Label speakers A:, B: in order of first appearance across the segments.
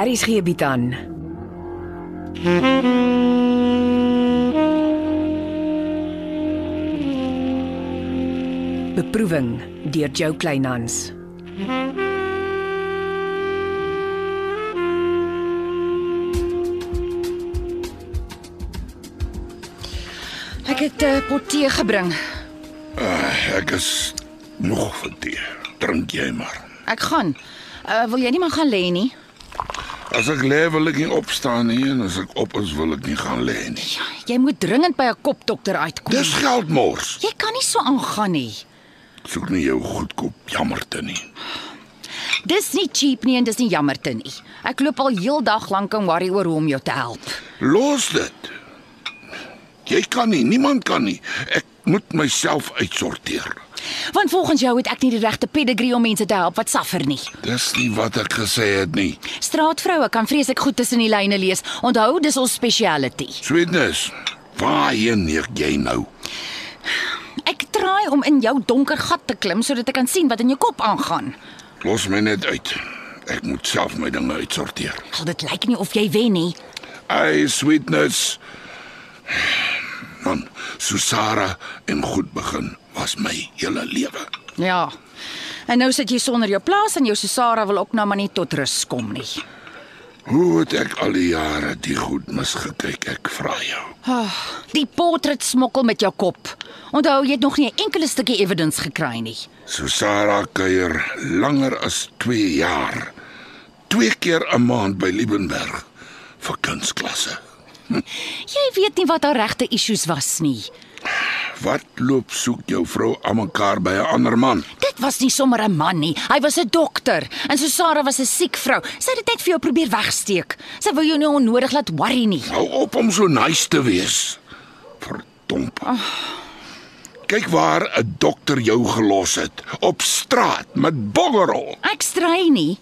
A: Aries gee bied aan. Beproeving deur Jo Kleinhans.
B: Ek het 'n uh, pot tee gebring.
C: Ek is nog van tee. Drink jy maar.
B: Ek gaan. Uh, wil jy nie maar gaan lê nie?
C: As ek lê wil ek nie opstaan nie en as ek op is wil ek nie gaan lê nie.
B: Ja, jy moet dringend by 'n kopdokter uitkom.
C: Dis geldmors.
B: Jy kan nie so aangaan nie.
C: Ek Soek nie jou goedkoop jammerte nie.
B: Dis nie cheap nie en dis nie jammerte nie. Ek loop al heeldag lank en worry oor hoe om jou te help.
C: Los dit. Jy kan nie, niemand kan nie. Ek moet myself uitsorteer.
B: Want volgens jou het ek nie die regte pedigree om mense te help wat suffer nie.
C: Dis nie wat ek gesê het nie.
B: Straatvroue kan vreeslik goed tussen die lyne lees. Onthou, dis ons speciality.
C: Sweetness, waarheen neek jy nou?
B: Ek traai om in jou donker gat te klim sodat ek kan sien wat in jou kop aangaan.
C: Los my net uit. Ek moet self my dinge uitsorteer.
B: Al dit lyk nie of jy wen nie.
C: Ai, sweetness. Man, Susara en goed begin was my hele lewe.
B: Ja. En nou sit jy sonder jou plaas en jou Susara wil ook nou maar nie tot rus kom nie.
C: Hoe het ek al die jare die goed misgekyk, ek vra jou.
B: Oh, die portret smokkel met jou kop. Onthou, jy het nog nie 'n enkele stukkie evidence gekry nie.
C: Susara kuier langer as 2 jaar. 2 keer 'n maand by Liebenberg vir kunstklasse.
B: Jy weet nie wat haar regte issues was nie.
C: Wat loop soek jou vrou aan mekaar by 'n ander man?
B: Dit was nie sommer 'n man nie. Hy was 'n dokter en Susara was 'n siek vrou. Sy het dit net vir jou probeer wegsteek. Sy wou jou nie onnodig laat worry nie.
C: Hou op om so nice te wees. Verdomp. Kyk waar 'n dokter jou gelos het op straat met boggerol.
B: Ek strei nie.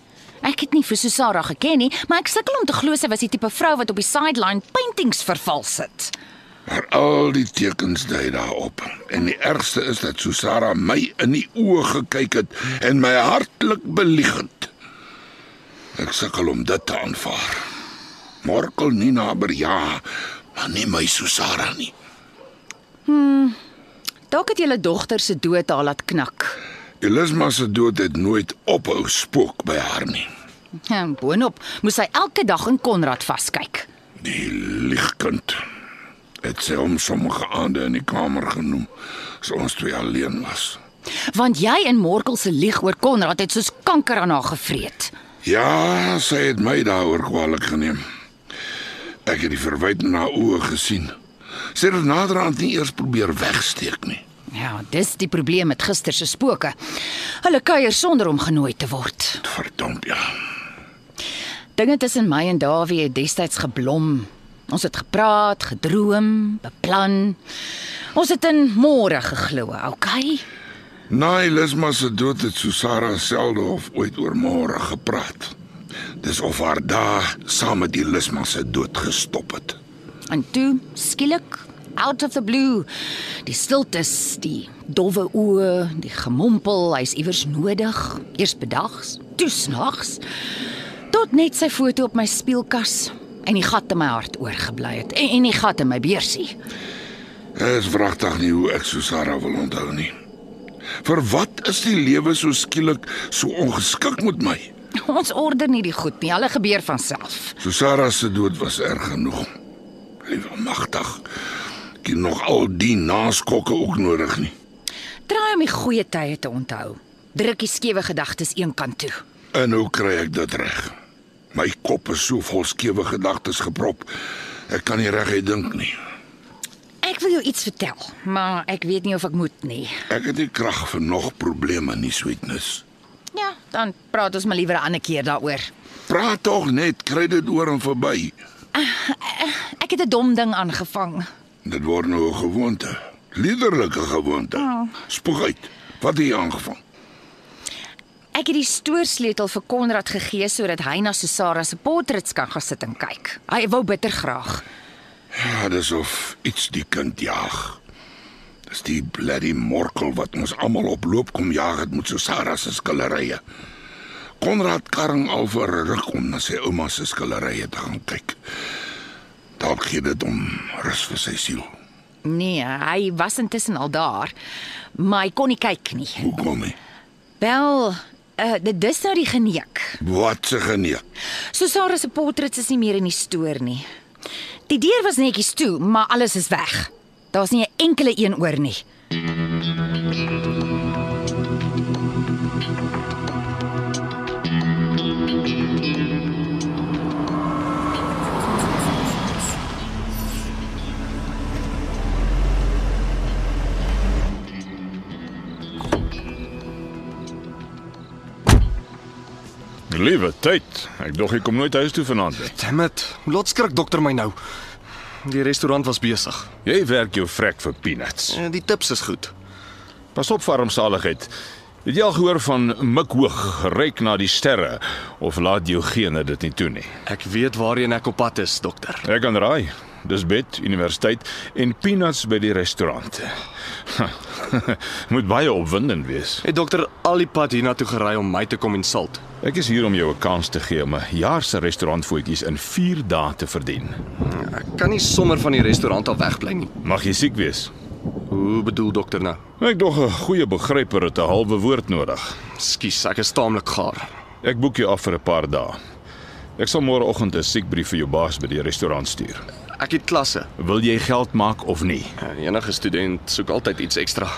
B: Ek het nie vir Susara geken nie, maar ek sukkel om te glo sy was die tipe vrou wat op die sideline paintings vervals het.
C: Maar al die tekens dui daarop. En die ergste is dat Susara my in die oë gekyk het en my hartlik belieg het. Ek sukkel om dit te aanvaar. Morkel nie naby ja, maar nie my Susara nie.
B: Dalk het julle dogter se dood haar laat knak.
C: Elisma se dood het nooit ophou spook by haar nie.
B: En Ja, boonop moes sy elke dag in Konrad vaskyk.
C: Die liegkind het sy hom sommige aande in die kamer genoem as ons twee alleen was.
B: Want jy en Morkel se lieg oor Konrad het soos kanker aan haar gevreet.
C: Ja, sy het my daaroor kwaliek geneem. Ek het die verwyte na oë gesien. Sy het dit naderhand nie eers probeer wegsteek nie.
B: Ja, dis die probleem met gister se spooke. Hulle kuier sonder om genooi te word.
C: Verdomp ja.
B: Dinge tussen my en Dawie het destyds geblom. Ons het gepraat, gedroom, beplan. Ons het in môre geglo, okay?
C: Na Elisma se dood het Susara selde of ooit oor môre gepraat. Dis of haar dae saam met Elisma se dood gestop het.
B: En toe skielik out of the blue, die stiltes, die dowwe oë, die gemompel, hy's iewers nodig, eers bedags, toe snags, tot net sy foto op my speelkas en die gat in my hart oorgebly het en, en die gat in my beursie.
C: Dit is wragtig nie hoe ek Susara wil onthou nie. Vir wat is die lewe so skielik so ongeskik met my?
B: Ons order nie die goed nie, hulle gebeur van self.
C: Susara se dood was erg genoeg. Liewe magtig. Ek het nog al die naskokke ook nodig nie.
B: Draai om die goeie tye te onthou. Druk die skewe gedagtes een kant toe.
C: En hoe kry ek dit reg? My kop is so vol skewe gedagtes geprop. Ek kan nie reguit dink nie.
B: Ek wil jou iets vertel, maar ek weet nie of ek moet nie.
C: Ek het nie krag vir nog probleme nie, sweetness.
B: Ja, dan praat ons maar liewer 'n ander keer daaroor.
C: Praat tog net, kry dit oor en verby.
B: Ek het 'n dom ding aangevang.
C: Dit word nou 'n gewoonte, liderlike gewoonte. Spoeg uit. Wat het jy aangevang?
B: Ek het die stoorsleutel vir Konrad gegee sodat hy na Susara se portrets kan gaan sit en kyk. Hy wou bitter graag.
C: Ja, dis of iets die kind jaag. Dis die bloody morkel wat ons almal op loop kom jag het met Susara se skillerye. Konrad karring al vir 'n ruk om na sy ouma se skillerye te gaan kyk. Dalk gee dit hom rus vir sy siel.
B: Nee, hy was intussen al daar, maar hy kon nie kyk nie.
C: Hoe kom hy?
B: Wel, uh, dit is nou die geneek.
C: Wat se geneek?
B: Susara se portret is nie meer in die stoor nie. Die deur was netjies toe, maar alles is weg. Daar's nie 'n enkele een oor nie.
D: Liewe tyd, ek dog ek kom nooit huis toe vanaand nie.
E: Damn it. Hoe laat skrik dokter my nou? Die restaurant was besig.
D: Jy werk jou vrek vir peanuts.
E: Eh, Die tips is goed.
D: Pas op vir armsaligheid. Het jy al gehoor van mik hoog, reik na die sterre of laat jou gene dit nie toe nie?
E: Ek weet waarheen ek op pad is, dokter.
D: Ek kan raai. Dis bed, universiteit en peanuts by die restaurant. Moet baie opwindend wees.
E: Het dokter al die pad hiernatoe gery om my te kom insult.
D: Ek is hier om jou 'n kans te gee om 'n jaar se restaurantvoetjies in 4 dae te verdien.
E: Ek kan nie sommer van die restaurant af wegbly nie.
D: Mag jy siek wees.
E: Hoe bedoel dokter nou?
D: Ek dog 'n goeie begryper het 'n halwe woord nodig.
E: Skus, ek is taamlik gaar.
D: Ek boek jou af vir 'n paar dae. Ek sal môreoggend 'n siekbrief vir jou baas by die restaurant stuur.
E: Ek het klasse.
D: Wil jy geld maak of nie?
E: Eh, Enige student soek altyd iets ekstra.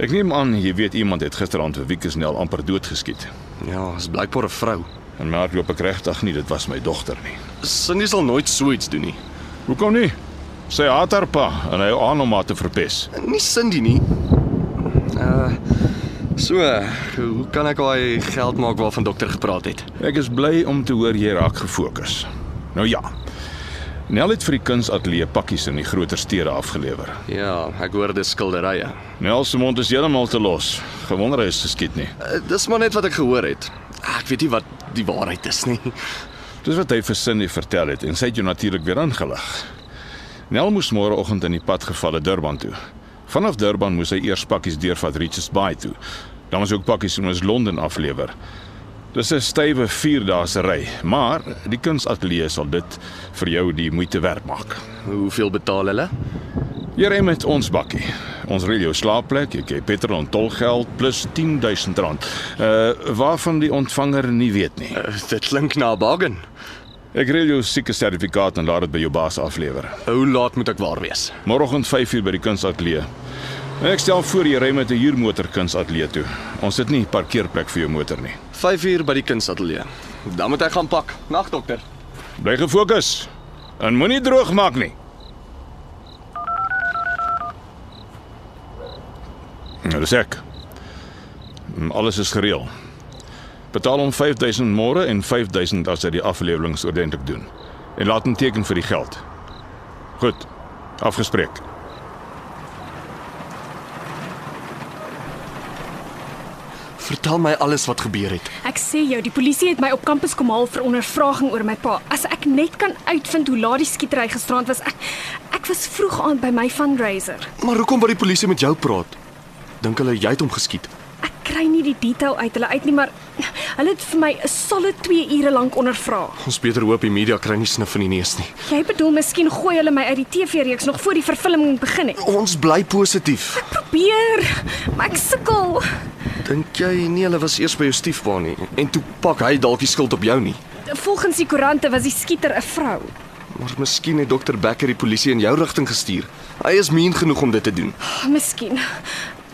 D: Ek neem aan jy weet iemand het gisteraand vir Wiekesnel amper doodgeskiet.
E: Ja, is blykbaar 'n vrou.
D: En maar loop ek regtig nie, dit was my dogter nie.
E: Cindy sal nooit so iets doen nie.
D: Hoekom nie? Sy haat haar pa en hy hou aan om haar te verpes.
E: Nie Cindy nie. Uh so, hoe kan ek daai geld maak waarvan dokter gepraat het?
D: Ek is bly om te hoor jy raak gefokus. Nou ja. Nel het vir die kunsateljee pakkies in die groter stede afgelewer.
E: Ja, ek hoor dis skilderye. Uh,
D: Nel se mond is heeltemal te los. Gewonder hy is geskiet nie.
E: Uh, dis maar net wat ek gehoor het. Ah, Ek weet nie wat die waarheid is nie.
D: Dis wat hy vir Cindy vertel het en sy het jou natuurlik weer ingelig. Nel moes môreoggend in die pad gevalle Durban toe. Vanaf Durban moes hy eers pakkies deurvat Richards Bay toe. Dan moes hy ook pakkies in ons Londen aflewer. Dis 'n stywe 4 dae se ry, maar die kunsateljee sal dit vir jou die moeite werd maak.
E: Hoeveel betaal hulle?
D: Jy ry met ons bakkie. Ons reël jou slaapplek, jy kry petrol en tolgeld plus R10000. Uh waarvan die ontvanger nie weet nie.
E: Uh, dit klink na 'n bargain.
D: Ek reël jou sieke sertifikaat en laat dit by jou baas aflewer.
E: Hoe laat moet ek waar wees?
D: Môreoggend 5uur by die kunsateljee. En Ek stel voor jy ry met 'n huurmotor kunsateljee toe. Ons het nie parkeerplek vir jou motor nie.
E: 5 uur by die kunsateljee. Dan moet ek gaan pak. Nag dokter.
D: Bly gefokus en moenie droog maak nie. Nou dis ek. Mm, Alles is gereël. Betaal hom 5000 môre en 5000 as hy die afleweringe ordentlik doen. En laat hom teken vir die geld. Goed. Afgespreek.
E: Vertel my alles wat gebeur het.
F: Ek sê jou, die polisie het my op kampus kom haal vir ondervraging oor my pa. As ek net kan uitvind hoe laat die skietery gisterand was. Ek, ek was vroeg aan by my fundraiser.
E: Maar hoekom wou die polisie met jou praat? Dink hulle jy het hom geskiet?
F: Ek kry nie die detail uit hulle uit nie, maar hulle het vir my 'n solid 2 ure lank ondervra.
E: Ons beter hoop die media kry nie snif van die neus nie.
F: Jy bedoel miskien gooi hulle my uit die TV-reeks nog voor die vervulling begin het.
E: Ons bly positief.
F: Probeer, maar ek sukkel.
E: Dink jy nie hulle was eers by jou stiefpa nie en toe pak hy dalk die skuld op jou nie?
F: Volgens die koerante was die skieter 'n vrou.
E: Maar miskien het dokter Becker die polisie in jou rigting gestuur. Hy is mean genoeg om dit te doen.
F: Miskien.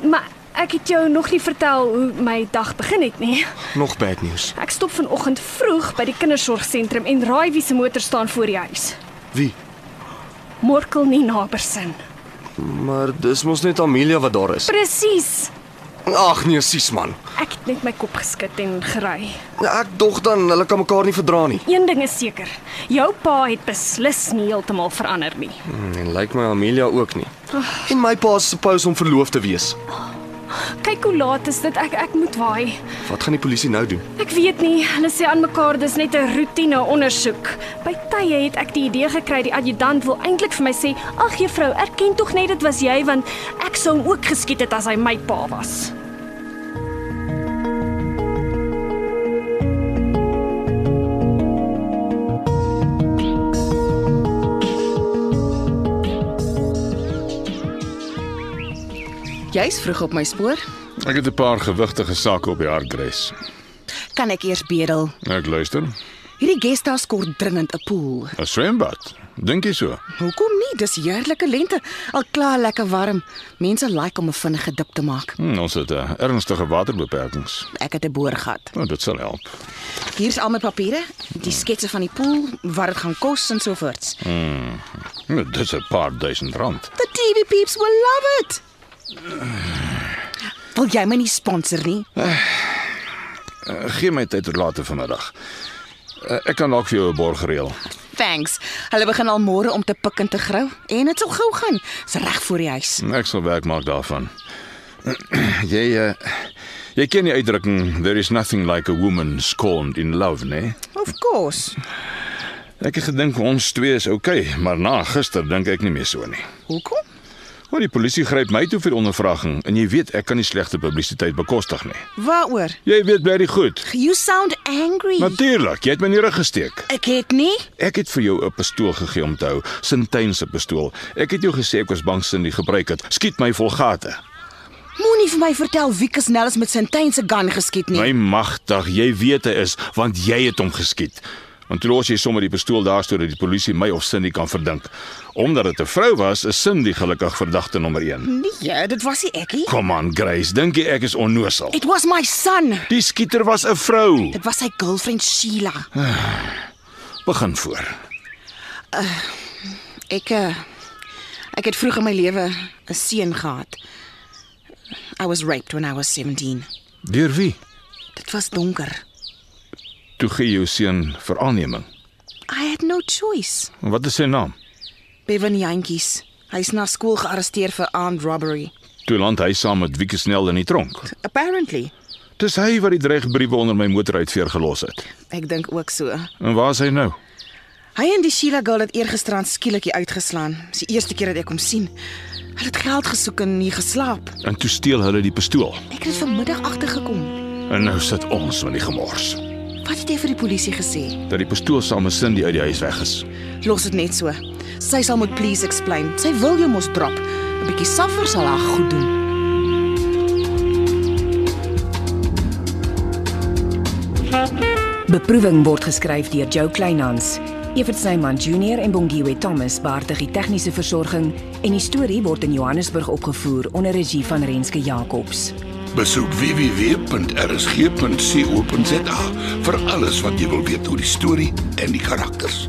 F: Maar ek het jou nog nie vertel hoe my dag begin het nie.
E: Nog bad news.
F: Ek stop vanoggend vroeg by die kindersorgsentrum en raai wie se motor staan voor die huis.
E: Wie?
F: Morkel nie nabersin.
E: Maar dis mos net Amelia wat daar is.
F: Presies.
E: Ag nee, sies man.
F: Ek het net my kop geskit en gery.
E: Ek dog dan hulle kan mekaar nie verdra nie.
F: Een ding is seker, jou pa het beslis nie heeltemal verander nie.
E: Hmm, En lyk my Amelia ook nie. En my pa is supposed om verloof te wees.
F: Kyk hoe laat is dit. Ek ek moet waai.
E: Wat gaan die polisie nou doen?
F: Ek weet nie. Hulle sê aan mekaar dis net 'n roetine ondersoek. By tye het ek die idee gekry die adjutant wil eintlik vir my sê, "Ag juffrou, erken tog net dit was jy want ek sou hom ook geskiet het as hy my pa was."
G: Jy's vroeg op my spoor.
D: Ek het 'n paar gewigtige sake op die harddres.
G: Kan ek eers bedel?
D: Ek luister.
G: Hierdie guesthouse kort dringend 'n poel.
D: 'n Swembad. Dink jy so?
G: Hoekom nie? Dis heerlike lente. Al klaar lekker warm. Mense like om 'n vinnige dip te maak.
D: Hm, ons het 'n ernstige waterbeperkings.
G: Ek het 'n boorgat.
D: Nou, dit sal help.
G: Hier's al my papiere, die sketse van die poel, wat dit gaan kos en so voort.
D: Nou, dit is 'n paar duisend rand.
G: The TV peeps will love it. Wil jy my nie sponsor nie?
D: Gee my tyd tot later vanmiddag. Eh, Ek kan dalk vir jou 'n borg reël.
G: Thanks. Hulle begin al môre om te pik en te grou en dit sal gou gaan. Dis reg voor die huis.
D: Ek sal werk maak daarvan. jy uh, jy ken die uitdrukking there is nothing like a woman scorned in love, né?
G: Of course.
D: Ek het gedink ons twee is oukei, okay, maar na gister dink ek nie meer so nie.
G: Hoekom?
D: Maar die polisie gryp my toe vir ondervraging en jy weet ek kan nie slegte publisiteit bekostig nie.
G: Waaroor?
D: Jy weet baie goed.
G: You sound angry.
D: Natuurlik, jy het my nie reg gesteek.
G: Ek het nie.
D: Ek het vir jou 'n pistool gegee om te hou, Sintuin se pistool. Ek het jou gesê ek was bang sin die gebruik het. Skiet my volgate.
G: Moenie vir my vertel wie Kesnel is met Sintyn se gun geskiet nie.
D: My magtig, jy weet hy is, want jy het hom geskiet. Want toe los jy sommer die pistool daar sodat die polisie my of Cindy kan verdink. Omdat dit 'n vrou was, is Cindy gelukkig verdagte nommer 1.
G: Nee, ja, dit was nie ek nie.
D: Kom aan, Grace, dink jy ek is onnosel?
G: It was my son.
D: Die skieter was 'n vrou.
G: Dit was sy girlfriend Sheila.
D: Begin voor.
G: Ek eh, ek het vroeg in my lewe 'n seun gehad. I was raped when I was 17.
D: Deur wie?
G: Dit was donker.
D: Toe gee jou seun vir aanneming.
G: I had no choice.
D: Wat is sy naam?
G: Bevan Jantjies. Hy's na skool gearresteer vir armed robbery.
D: Toe land hy saam met Wiekie Snell in die tronk.
G: Apparently.
D: Dis hy wat die dreigbriewe onder my motor uitveer gelos het.
G: Ek dink ook so.
D: En waar is hy nou?
G: Hy en die Sheila girl het eergisterand skielik uitgeslaan. Dis die eerste keer dat ek hom sien. Hulle het geld gesoek en nie geslaap.
D: En toe steel hulle die pistool.
G: Ek het dit vanmiddag agtergekom.
D: En nou sit ons met die gemors.
G: Wat het jy vir die polisie gesê?
D: Dat die pistool saam met Cindy uit die huis weg is.
G: Los dit net so. Sy sal moet please explain. Sy wil jou mos drop. 'n Bietjie saffer sal haar goed doen.
A: Beproeving word geskryf deur Jo Kleinhans. Evert Snyman Junior en Bongwe Thomas baartig die tegniese versorging en die storie word in Johannesburg opgevoer onder regie van Renske Jacobs.
C: Besoek www.rsg.co.za vir alles wat jy wil weet oor die storie en die karakters.